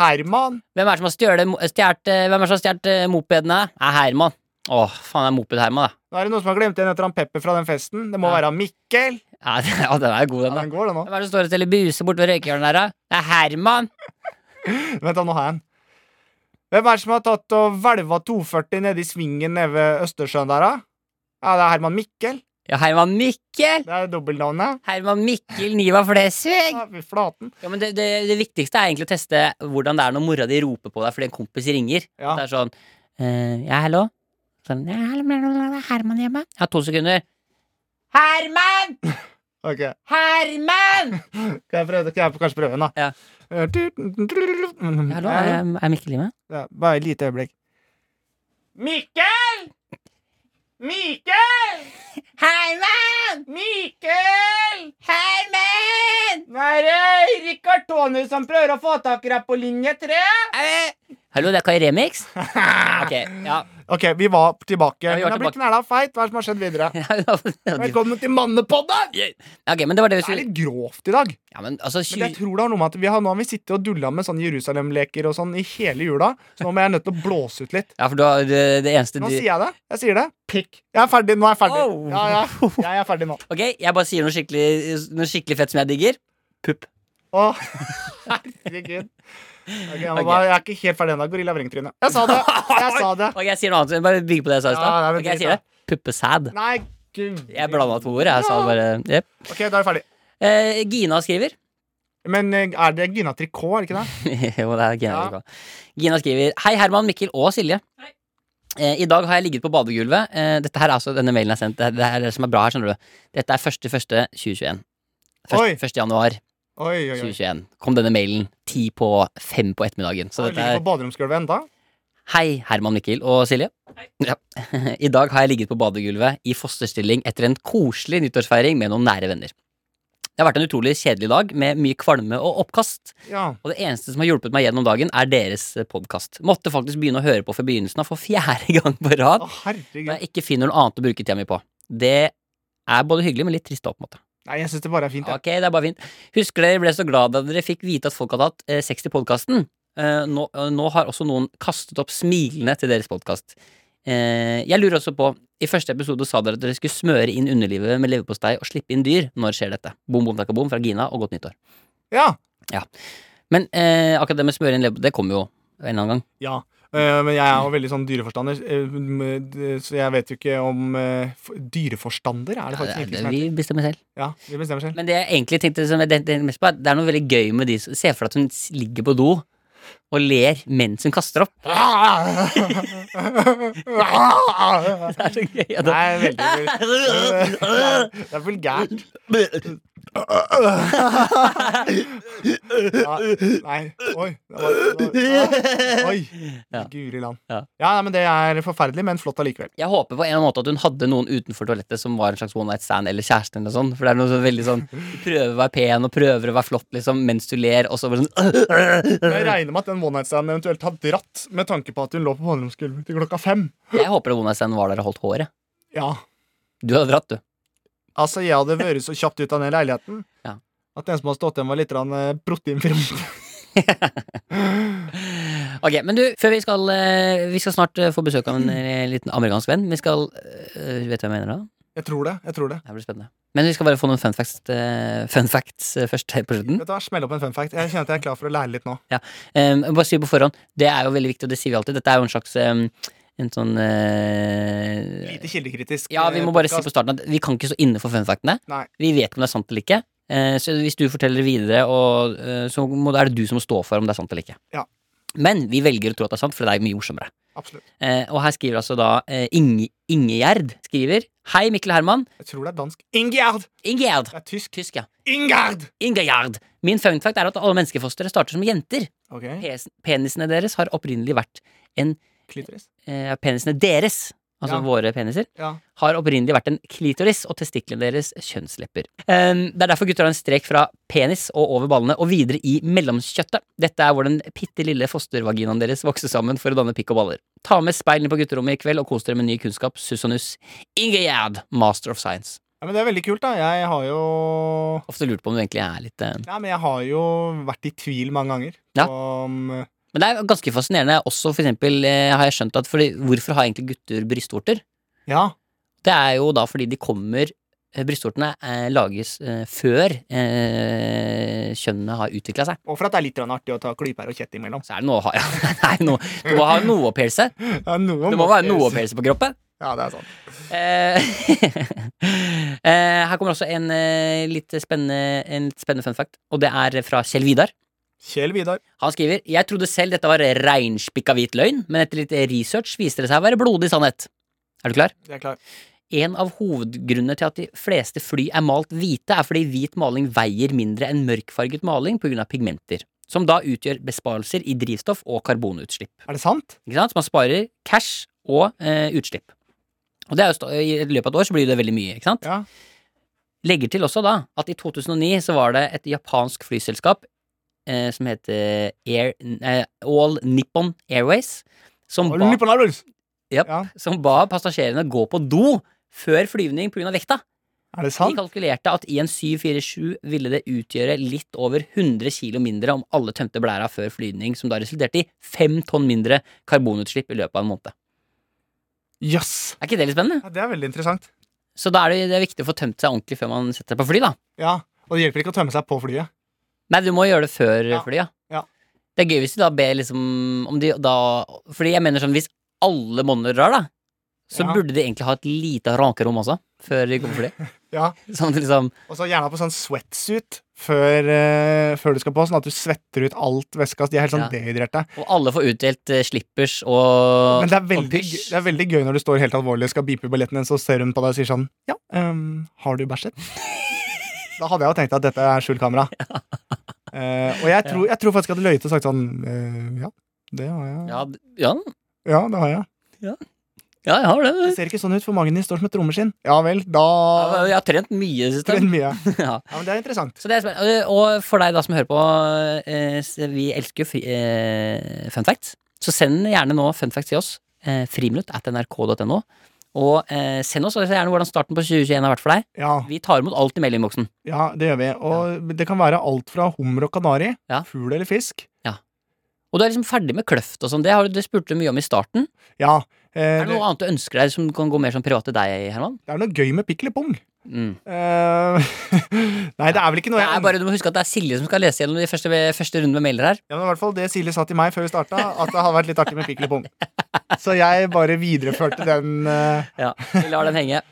Herman!
Hvem er det som har stjålet mo- stjert, eh, Hvem er det som har stjålet eh, mopedene? Er Herman. Åh, faen, det er moped-Herman, da.
Nå er det noen som har glemt igjen etter han Pepper fra den festen. Det må
Ja. Sånn,
være Mikkel!
Ja, [laughs] det- ja, den er jo god,
Ja,
den, da.
den går, den nå.
Hvem er det som står og selger buser borte ved røykehjørnet der, da? Det er Herman!
[laughs] Vent, da, nå har jeg en. Hvem er det som har tatt og hvelva 240 nede i svingen nede ved Østersjøen der, da? Ja, det er Herman Mikkel.
Ja, Herman Mikkel!
Det er dobbeltnavnet.
Herman Mikkel Niva Flesvig!
Ja, fy flaten.
Ja, men det, det, det viktigste er egentlig å teste hvordan det er når mora di roper på deg fordi en kompis ringer.
Ja.
Det er sånn eh, Ja, hallo? Sånn, ja, hallo, hallo, hallo, er Herman hjemme? Ja, to sekunder. Herman!
Ok,
Herman!
Skal jeg, prøve, skal jeg kanskje prøve den, da? Eh,
Ja. Ja, Hallo, er,
Ja.
er Mikkel hjemme?
Ja, bare et lite øyeblikk. Mikkel! Mikkel!
Herman!
Mikkel!
Herman!
Nå er det Rikard Tony som prøver å få tak i deg på linje tre.
Hallo, det er Kai
[laughs]
Remix? Ok, ja. [laughs]
Ok, vi var tilbake.
Ja, vi
Hun
var
har blitt knæla feit. Hva er det som har skjedd videre? Velkommen til mannepodden!
ok, men det var det vi
Det er
skulle
litt grovt i dag.
Ja, men altså
Men jeg
tjue-
tror det har noe med at vi har, nå har vi sittet og dulla med sånne Jerusalem-leker og sånn i hele jula. Så nå må jeg nødt til å blåse ut litt.
Ja, for du har det, det eneste du
Nå sier jeg det. Jeg sier det. Pikk. Jeg er ferdig. Nå er jeg ferdig.
Oh.
Ja, ja. Jeg er ferdig nå.
Ok, jeg bare sier noe skikkelig, noe skikkelig fett som jeg digger. Pupp.
Å, [laughs] herregud. Ok, jeg, må bare, jeg er ikke helt ferdig ennå. Gorilla vrengtryne. Jeg sa det. Jeg sa det.
Ok, jeg sier noe annet. Bare bygg på det jeg sa i
Ja,
stad. Ok,
nei, men
jeg
drit
sier det. Puppesæd.
Nei, gud.
Jeg blanda to ord. Jeg sa bare jep.
Ok, da er vi ferdig.
eh, Gina skriver. [laughs]
Men eh, er det Gina Tricot, er det ikke det?
jo, det er Gina.
Ja.
som skal. Gina skriver Hei, Herman, Mikkel og Silje. Eh, I dag har jeg ligget på badegulvet. Eh, dette her er altså denne mailen jeg sendte. Det er det som er bra her, skjønner du. Dette er 1.1.2021.
Oi.
1. januar
Oi, oi, oi.
2021 kom denne mailen. Ti på fem på ettermiddagen. Så
Jeg
dette er
ligger på baderomsgulvet enda
Hei, Herman Mikkel og Silje. Ja. [laughs] I dag har jeg ligget på badegulvet i fosterstilling etter en koselig nyttårsfeiring med noen nære venner. Det har vært en utrolig kjedelig dag med mye kvalme og oppkast.
Ja.
Og det eneste som har hjulpet meg gjennom dagen, er deres podkast. Måtte faktisk begynne å høre på fra begynnelsen av for [laughs] fjerde gang på rad.
Å, herregud.
Når jeg ikke finner noe annet å bruke tida mi på. Det er både hyggelig, men litt trist òg, på en måte.
Nei, jeg syns det bare er fint. jeg.
Ok, det er bare fint. Husker dere ble så glad da dere fikk vite at folk hadde hatt eh, sex til podkasten? Eh, nå, eh, nå har også noen kastet opp smilene til deres podkast. Eh, jeg lurer også på I første episode sa dere at dere skulle smøre inn underlivet med leverpostei og slippe inn dyr. Når skjer dette? Bom, bom, takka, bom fra Gina, og godt nyttår.
Ja.
Men eh, akkurat det med smøre inn leverpostei, det kommer jo en eller annen gang.
ja. Eh, men jeg er jo veldig sånn dyreforstander, eh, m- d- så jeg vet jo ikke om eh, f- Dyreforstander er
Ja, det,
det faktisk
er- det,
virkelig som heter.
Eh, vi bestemmer selv.
Ja, vi bestemmer
[laughs]
selv.
Men det jeg egentlig tenkte som jeg den- den mest på, er at det er noe veldig gøy med de som Se for deg at hun s- ligger på do og ler mens hun kaster opp. [laughs] Det er så gøy. at
Det
det-
er
[laughs]
veldig vulgært. [laughs] Det er vulgært. Ja, nei, oi. Det var, det var, oi.
[laughs] Ja.
Guri land.
Ja.
Ja, nei, men det er forferdelig, men flott allikevel.
Jeg håper på en eller annen måte at hun hadde noen utenfor toalettet som var en slags one night stand eller kjæresten eller noe sånt. For det er noe så veldig sånn Du prøver å være pen og prøver å være flott liksom mens du ler, og så bare sånn
Jeg regner med at den one night standen eventuelt har dratt, med tanke på at hun lå på baderomsgulvet til klokka fem.
«Øh!» Jeg håper at one night stand var der og holdt håret.
Ja.
Du hadde dratt, du.
Altså, jeg hadde vært så kjapt ut av den leiligheten
Ja.
at den som hadde stått igjen, var litt grann, eh, proteinfri.
Ok, men du, før vi skal eh, Vi skal snart eh, få besøk av en eh, liten amerikansk venn. Vi skal eh, Vet du hva jeg mener da?
[laughs] Jeg tror det. jeg tror det
Det blir spennende. Men vi skal bare få noen fun facts, eh, fun facts eh, først her på slutten. Ehm,
Vet du hva, Smell opp en fun fact. Jeg kjenner at jeg er klar for å lære litt nå.
Um, bare si på forhånd, det er jo veldig viktig, og det sier vi alltid. Dette er jo en slags um, En sånn eh,
Lite kildekritisk.
Ja, vi
eh,
må bare si
podcast.
på starten at vi kan ikke stå inne for funfactene.
Nei.
Vi vet ikke om det er sant eller ikke. Eh, Så hvis du forteller videre, og, eh, så må, er det du som må stå for om det er sant eller ikke.
Ja.
Men vi velger å tro at det er sant, for det er mye morsommere.
Absolutt.
Eh, Og her skriver altså da eh, Inge, Ingegjerd skriver Hei, Mikkel Herman.
Jeg tror det er dansk. Ingjerd!
Ingegjerd.
Det er tysk.
Tysk, ja.
Ingjerd!
Ingegjerd. Min funfact er at alle menneskefostre starter som jenter.
Ok,
Pes- Penisene deres har opprinnelig vært en
klitoris.
eh, Penisene deres, altså
Ja.
våre peniser,
Ja.
har opprinnelig vært en klitoris, og testiklene deres kjønnslepper. Ehm, det er derfor gutter har en strek fra penis og over ballene og videre i mellomkjøttet. Dette er hvor den bitte lille fostervaginaen deres vokser sammen for å danne pikk og baller. Ta med speilene på gutterommet i kveld og kos dere med ny kunnskap. Suss og nuss. Ingegjerd, master of science.
Ja, men det er veldig kult, da. Jeg har jo
Ofte lurt på om du egentlig er litt eh,
Ja, men jeg har jo vært i tvil mange ganger
Ja.
om eh,
Men det er ganske fascinerende. Også for eksempel eh, har jeg skjønt at fordi, Hvorfor har egentlig gutter brystvorter?
Ja.
Det er jo da fordi de kommer eh, Brystvortene eh, lages eh, før eh, kjønnet har utvikla seg.
Og for at det er litt grann artig å ta klyper og kjett
[laughs]
imellom.
Så er det noe å ha ja. det er noe, Du må ha noe å pelse.
Ja, noe
Det må være noe å pelse på kroppen.
Ja, det er sant.
Eh, [laughs] eh, her kommer også en eh, litt spennende, en litt spennende fun fact, og det er fra Kjell Vidar.
Kjell Vidar.
Han skriver Jeg trodde selv dette var reinspikka hvit løgn, men etter litt research viste det seg å være blodig sannhet. Er du klar?
Jeg er klar.
En av hovedgrunnene til at de fleste fly er malt hvite, er fordi hvit maling veier mindre enn mørkfarget maling pga. pigmenter, som da utgjør besparelser i drivstoff og karbonutslipp.
Er det sant?
Ikke sant? Så man sparer cash og eh, utslipp. Og det er jo sta- I løpet av et år så blir det veldig mye. ikke sant?
Ja.
Legger til også da at i 2009 så var det et japansk flyselskap eh, som heter Air, eh, All Nippon Airways, som
Har du
ba,
nippon Airways?
Japp.
Ja.
som ba passasjerene gå på do før flyvning pga. vekta.
Er det
De
sant?
kalkulerte at i en 747 ville det utgjøre litt over 100 kilo mindre om alle tømte blæra før flyvning, som da resulterte i fem tonn mindre karbonutslipp i løpet av en måned.
Jøss.
Er ikke det litt spennende?
Ja, det er veldig interessant.
Så da er det, det er viktig å få tømt seg ordentlig før man setter seg på fly, da.
Ja. Og det hjelper ikke å tømme seg på flyet.
Nei, du må gjøre det før
Ja.
fly, ja.
Ja.
Det er gøy hvis du da ber liksom om de da Fordi jeg mener sånn, hvis alle monner drar, da, så
Ja.
burde de egentlig ha et lite rankerom også, før de kommer på
[laughs]
fly.
Ja.
Sånn at liksom
Og så gjerne på sånn sweatsuit før, eh, før du skal på, sånn at du svetter ut alt væska. De er helt sånn
Ja.
dehydrerte.
Og alle får utdelt eh, slippers og
Men det er,
og
veldig,
pysj.
det er veldig gøy når du står helt alvorlig og skal bipe balletten din, så ser hun på deg og sier sånn Ja, ehm, har
[laughs]
du bæsjet? da hadde jeg jo tenkt at dette er skjult kamera. Eh, og jeg tror, jeg tror faktisk jeg hadde løyet og sagt sånn eh, Ja, det har jeg. Ja,
Ja, d- ja,
det har jeg.
ja, jeg har det.
Det ser ikke sånn ut, for magen din står som et rommeskinn. Ja vel, da
Ja, Jeg har trent mye i det siste.
Trent mye.
[laughs] Ja.
Ja, men det er interessant.
Så det er spennende. Og og for deg da som hører på, eh, s- vi elsker jo fri, eh, fun facts. Så send gjerne nå fun facts til oss. Eh, friminutt at nrk.no. Og eh, send oss også gjerne hvordan starten på 2021 har vært for deg.
Ja,
Vi tar imot alt i mailinnboksen.
ja, det gjør vi. Og det kan være alt fra hummer og kanari,
Ja.
fugl eller fisk.
Og du er liksom ferdig med kløft og sånn. Det, har du- det spurte du mye om i starten.
Ja. eh,
Er det noe annet du ønsker deg som kan gå mer sånn privat til deg, Herman?
det er noe gøy med pikkel i pung.
Mm.
Eh, [laughs] nei, det er vel ikke noe
Det
jeg
er bare, du må huske at det er Silje som skal lese gjennom de første, første runden med mailer her.
Ja, men i hvert fall Det Silje sa til meg før vi starta, at det hadde vært litt artig med pikkel i pung. Så jeg bare videreførte den eh,
Ja, vi lar den henge.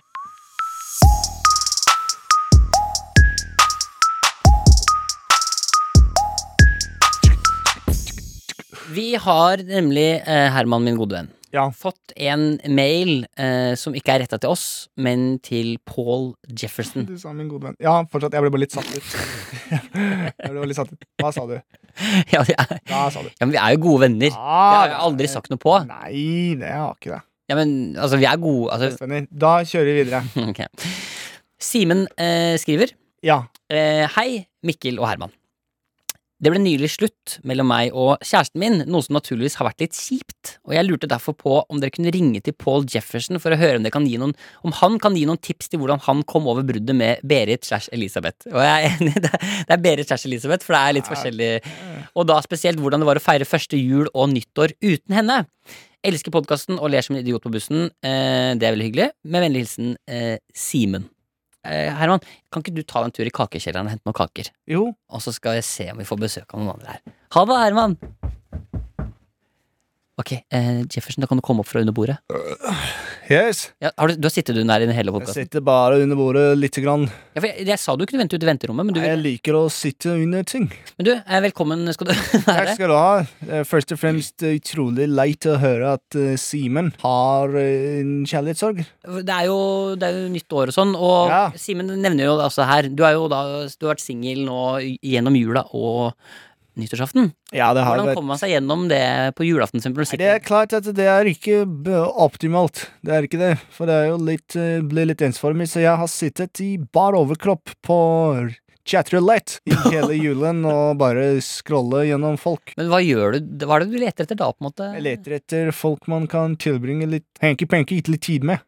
Vi har nemlig, eh, Herman, min gode venn,
Ja.
fått en mail eh, som ikke er retta til oss, men til Paul Jefferson. [laughs]
Du sa min gode venn. Ja, fortsatt. Jeg ble bare litt satt ut. [laughs] Jeg ble bare litt satt ut. Hva sa du?
ja, vi er,
Hva sa du?
ja, men vi er jo gode venner. Det
Ah,
har jeg aldri sagt noe på.
Nei, det har jeg ikke det.
Ja, men altså, vi er gode altså, [laughs]
Bestevenner. Da kjører vi videre.
ok. Simen eh, skriver
Ja.
Eh, hei, Mikkel og Herman. Det ble nylig slutt mellom meg og kjæresten min, noe som naturligvis har vært litt kjipt, og jeg lurte derfor på om dere kunne ringe til Paul Jefferson for å høre om, dere kan gi noen, om han kan gi noen tips til hvordan han kom over bruddet med Berit slash Elisabeth. Og jeg er enig, [laughs] det er- det er Berit slash Elisabeth, for det er litt forskjellig, og da spesielt hvordan det var å feire første jul og nyttår uten henne. Elsker podkasten og ler som en idiot på bussen. Eh, det er veldig hyggelig. Med vennlig hilsen eh, Simen. Eh, Herman, kan ikke du ta deg en tur i kakekjelleren og hente noen kaker?
Jo.
Og så skal jeg se om vi får besøk av noen andre her. Ha det, Herman! Ok, eh, Jefferson, da kan du komme opp fra under bordet.
Yes.
Ja, har du, du har sittet under her i hele
Jeg
podkasten.
sitter bare under bordet lite grann.
Ja, for jeg, jeg sa du kunne vente ute i venterommet, men du,
Jeg liker å sitte under ting.
men du eh, velkommen skal du [laughs]
Takk
være.
skal du ha. Eh, Først og fremst eh, utrolig leit å høre at eh, Simen har eh, en kjærlighetssorg.
Det er, jo, det er jo nytt år og sånn, og
Ja.
Simen nevner jo altså her Du, er jo da, du har vært singel nå gjennom jula og nyttårsaften.
Ja, det har
Hvordan
vært
kommer man seg gjennom det på julaften? Simple,
Nei, Det er klart at det er ikke b- optimalt. Det er ikke det. For det er jo litt, eh, blir litt ensformig, så jeg har sittet i bar overkropp på chatroulette i hele julen og bare scrolle gjennom folk.
Men hva gjør du? Hva er det du leter etter da, på en måte?
Jeg leter etter folk man kan tilbringe litt hanky-panky litt tid med.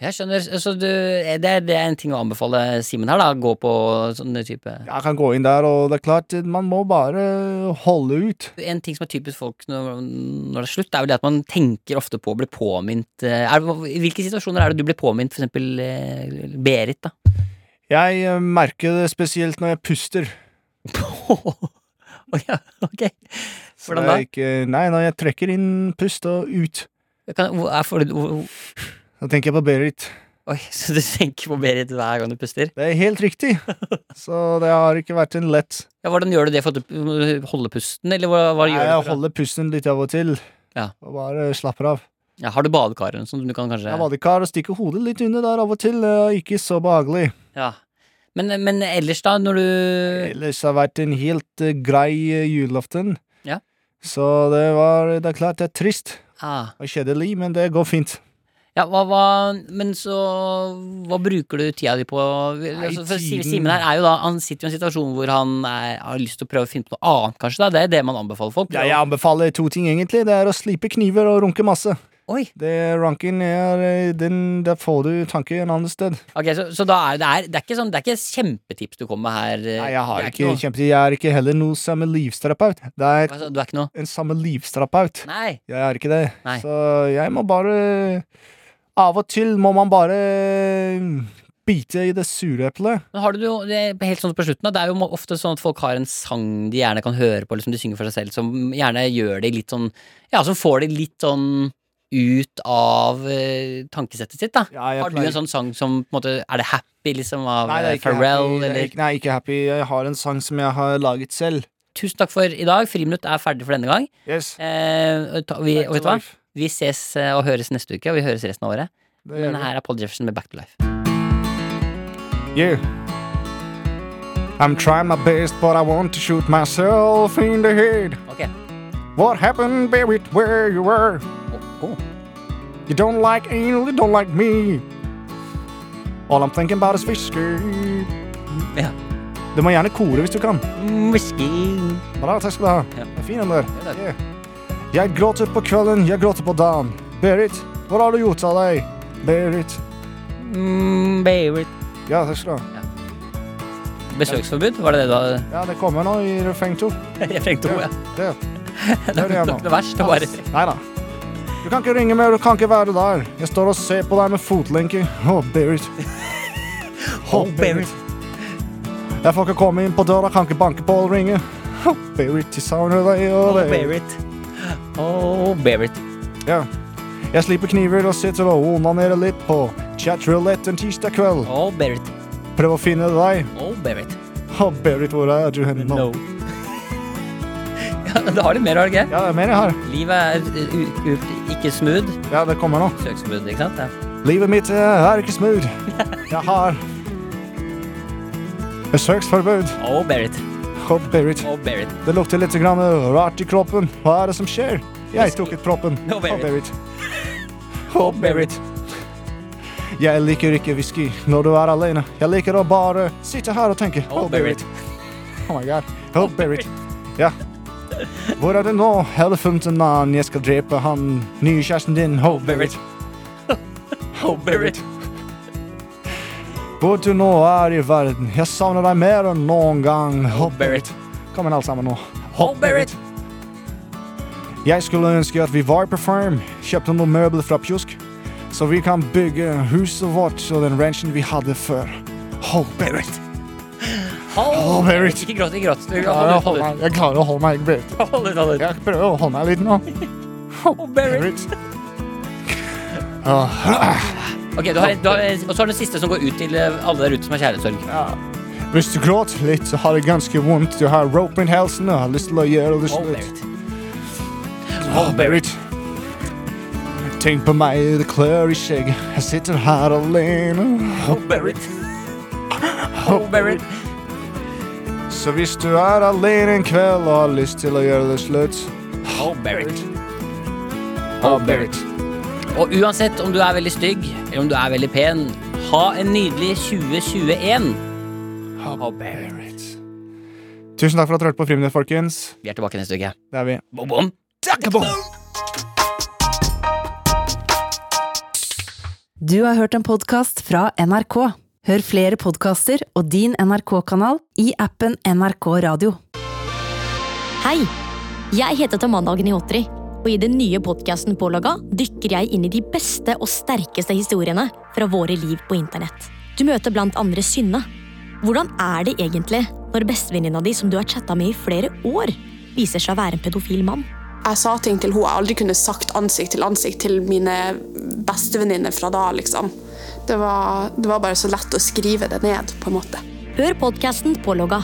Jeg skjønner. Så du, det, er, det er en ting å anbefale Simen her, da. Gå på sånne type
Jeg kan gå inn der, og det er klart, eh, man må bare holde ut.
En ting som er typisk folk når, når det er slutt, er vel det at man tenker ofte på å bli påminnet eh, er, det- I hvilke situasjoner er det du blir påminnet, for eksempel eh, Berit,
[laughs]
da?
Jeg eh, merker det spesielt når jeg puster.
Å ja, ok.
Så
Hvordan da?
jeg Ikke, nei, når jeg trekker inn pust og ut.
Kan, hvor- er, får du, hvor-
Da tenker jeg på Berit.
oi, [laughs] så du tenker på Berit hver gang du puster?
Det er helt
[laughs]
riktig. Så det har ikke vært en lett
Ja, hvordan gjør du det? For at du holder pusten, eller hva, hva
Nei,
gjør
Jeg
du? For, å-
holder pusten litt av og til.
Ja.
Og bare slapper av.
ja, har du badekar eller noe sånt? Du kan kanskje
Jeg er badekar og stikker hodet litt under der av og til. Det er Ikke så behagelig.
Ja. Men, men ellers, da, når du
Eh, Ellers har det vært en helt eh, grei eh, julaften.
Ja.
Så det var Det er klart det er trist
ah,
og kjedelig, men det går fint.
Ja, hva, hva Men så Hva bruker du tida di på? Altså, for
tiden-
Siv- Simen her er jo da Han sitter jo i en situasjon hvor han er, har lyst til å prøve å finne på noe annet, kanskje. da Det er det man anbefaler folk.
Ja, jeg anbefaler to ting, egentlig. Det er å slipe kniver og runke masse.
Oi,
Det Runken er eh, den Der får du tanke en annet sted.
ok, Så, så da er det, er, det, er ikke sånn, det er ikke kjempetips du kommer med her. eh,
Nei, jeg
det
har
er
ikke
noe-
kjempetid. Jeg er ikke heller noe samme livsterapeut. Det er
Hva sa du? Du er ikke noe
en samme livsterapeut.
Nei.
Jeg er ikke det.
Nei.
Så jeg må bare Av og til må man bare bite i det sure eplet.
Men har du jo, det er helt sånn på slutten da, Det er jo ofte sånn at folk har en sang de gjerne kan høre på, eller som de synger for seg selv, som gjerne gjør de litt sånn Ja, som får de litt sånn ut av eh, tankesettet sitt, da.
Ja, jeg
har du
pleier-
en sånn sang som på en måte Er det Happy, liksom, av
Nei, det
eh,
er ikke
Pharrell,
happy. Det er
eller
ikke- Nei, ikke happy. Jeg har en sang som jeg har laget selv.
Tusen takk for i dag. Friminutt er ferdig for denne gang.
Yes.
Eh, og ta, vi,
Back
og
to
vet du hva?
life.
Vi ses eh, og høres neste uke, og vi høres resten av året.
Det gjør
Men
vi.
her er Paul Jefferson med Back to Life.
Yeah.
I'm trying my best, but I want to shoot myself in the head.
Ok.
What happened, Berit, where you were?
Å, å.
You don't like anal, you don't like me. All I'm thinking about is whiskey.
Ja.
Du må gjerne kore hvis du kan.
Mm, Whisky.
Bra, takk skal du ha.
Ja.
Det er fin den der.
Ja, takk.
Yeah. Jeg gråter på kvelden, jeg gråter på dagen. Berit, hva har du gjort av deg? Berit.
Mm, Beirut.
Ja, takk skal du ha.
Besøksforbud, var det det du
[laughs]
hadde
Ja, det kommer nå i refreng to.
refreng to? Ja.
Det.
Det var
det
ikke
nå.
noe verst. Det var bare refreng.
Nei da. Du kan ikke ringe mer, du kan ikke være der. Jeg står og ser på deg med fotlenke. Å,
[laughs]
Berit. Å, Berit. Jeg får ikke komme inn på døra, kan ikke banke på og ringe. Å, Berit, jeg savner deg.
Oh,
Og deg.
Beirut. Oh, Beirut.
Ja. Jeg slipper kniver og sitter og onanerer litt på chat roulette en tirsdag kveld.
Oh, Beirut.
Prøv å finne deg.
Oh, Beirut.
Å, Berit, hvor er du hen nå?
No. [laughs] Ja, da har du mer, har du ikke?
Ja, det er mer jeg har.
Livet er uh, u- u- ikke smooth.
Ja, det kommer nå.
Søksforbud, ikke sant? Ja.
Livet mitt eh, er ikke smooth. Jeg har besøksforbud.
Oh, Beirut.
Å, Berit.
Oh, Beirut.
Det lukter litt grann rart i kroppen. Hva er det som skjer? Jeg tok ut proppen.
No,
Å,
Berit.
Berit. Å,
Oh,
Berit. Jeg liker ikke whisky når du er alene. Jeg liker å bare sitte her og tenke.
Oh, Berit.
Oh my god. Å, Berit. Ja. Hvor er det nå, elefanten mann? Jeg skal drepe han nye kjæresten din. Å, Berit.
Oh, Beirut.
Hvor du nå er i verden. Jeg savner deg mer enn noen gang. Å, Berit. Kom igjen, alle sammen nå.
Oh, Beirut.
Jeg skulle ønske at vi var på farm, kjøpte noen møbler fra Pjusk, så vi kan bygge huset vårt og den ranchen vi hadde før. Hold Berit.
Oh,
Beirut.
Ikke gråt, ikke gråt. Du,
Jeg klarer
Hold
å
ut,
holde meg, jeg klarer å holde meg, Berit.
hold ut. Oh, Hold ut, hold ut.
Jeg prøver å holde meg litt nå.
Ok, du har, du har, Og så har du den siste som går ut til eh, alle der ute som har kjærlighetssorg.
Hvis du gråter litt, så har det ganske vondt. Du har rope in halsen og har lyst til å gjøre det
Hold
slutt.
Oh, it.
Åh, Berit. Tenk på meg, det klør i skjegget. Jeg sitter her alene.
Hold Barrett. Hold Barrett.
Så hvis du er alene en kveld og har lyst til å gjøre det slutt
Hold Barrett. Oh,
Åh, Berit.
Og uansett om du er veldig stygg, eller om du er veldig pen, ha en nydelig 2021. Hold Barrett.
Tusen takk for at du hørte på Friminutt, folkens.
Vi er tilbake neste uke.
Det er vi.
Bom, bom.
Du har hørt en podkast fra NRK. Hør flere podkaster og din NRK-kanal i appen NRK Radio.
Hei! Jeg heter Tamanna Agniotri, og i den nye podkasten Pålogga dykker jeg inn i de beste og sterkeste historiene fra våre liv på internett. Du møter blant andre Synne. Hvordan er det egentlig når bestevenninna di, som du har chatta med i flere år, viser seg å være en pedofil mann?
jeg sa ting til henne jeg aldri kunne sagt ansikt til ansikt til mine bestevenninner fra da, liksom. Det var, det var bare så lett å skrive det ned, på en måte.
Hør podkasten Pålogga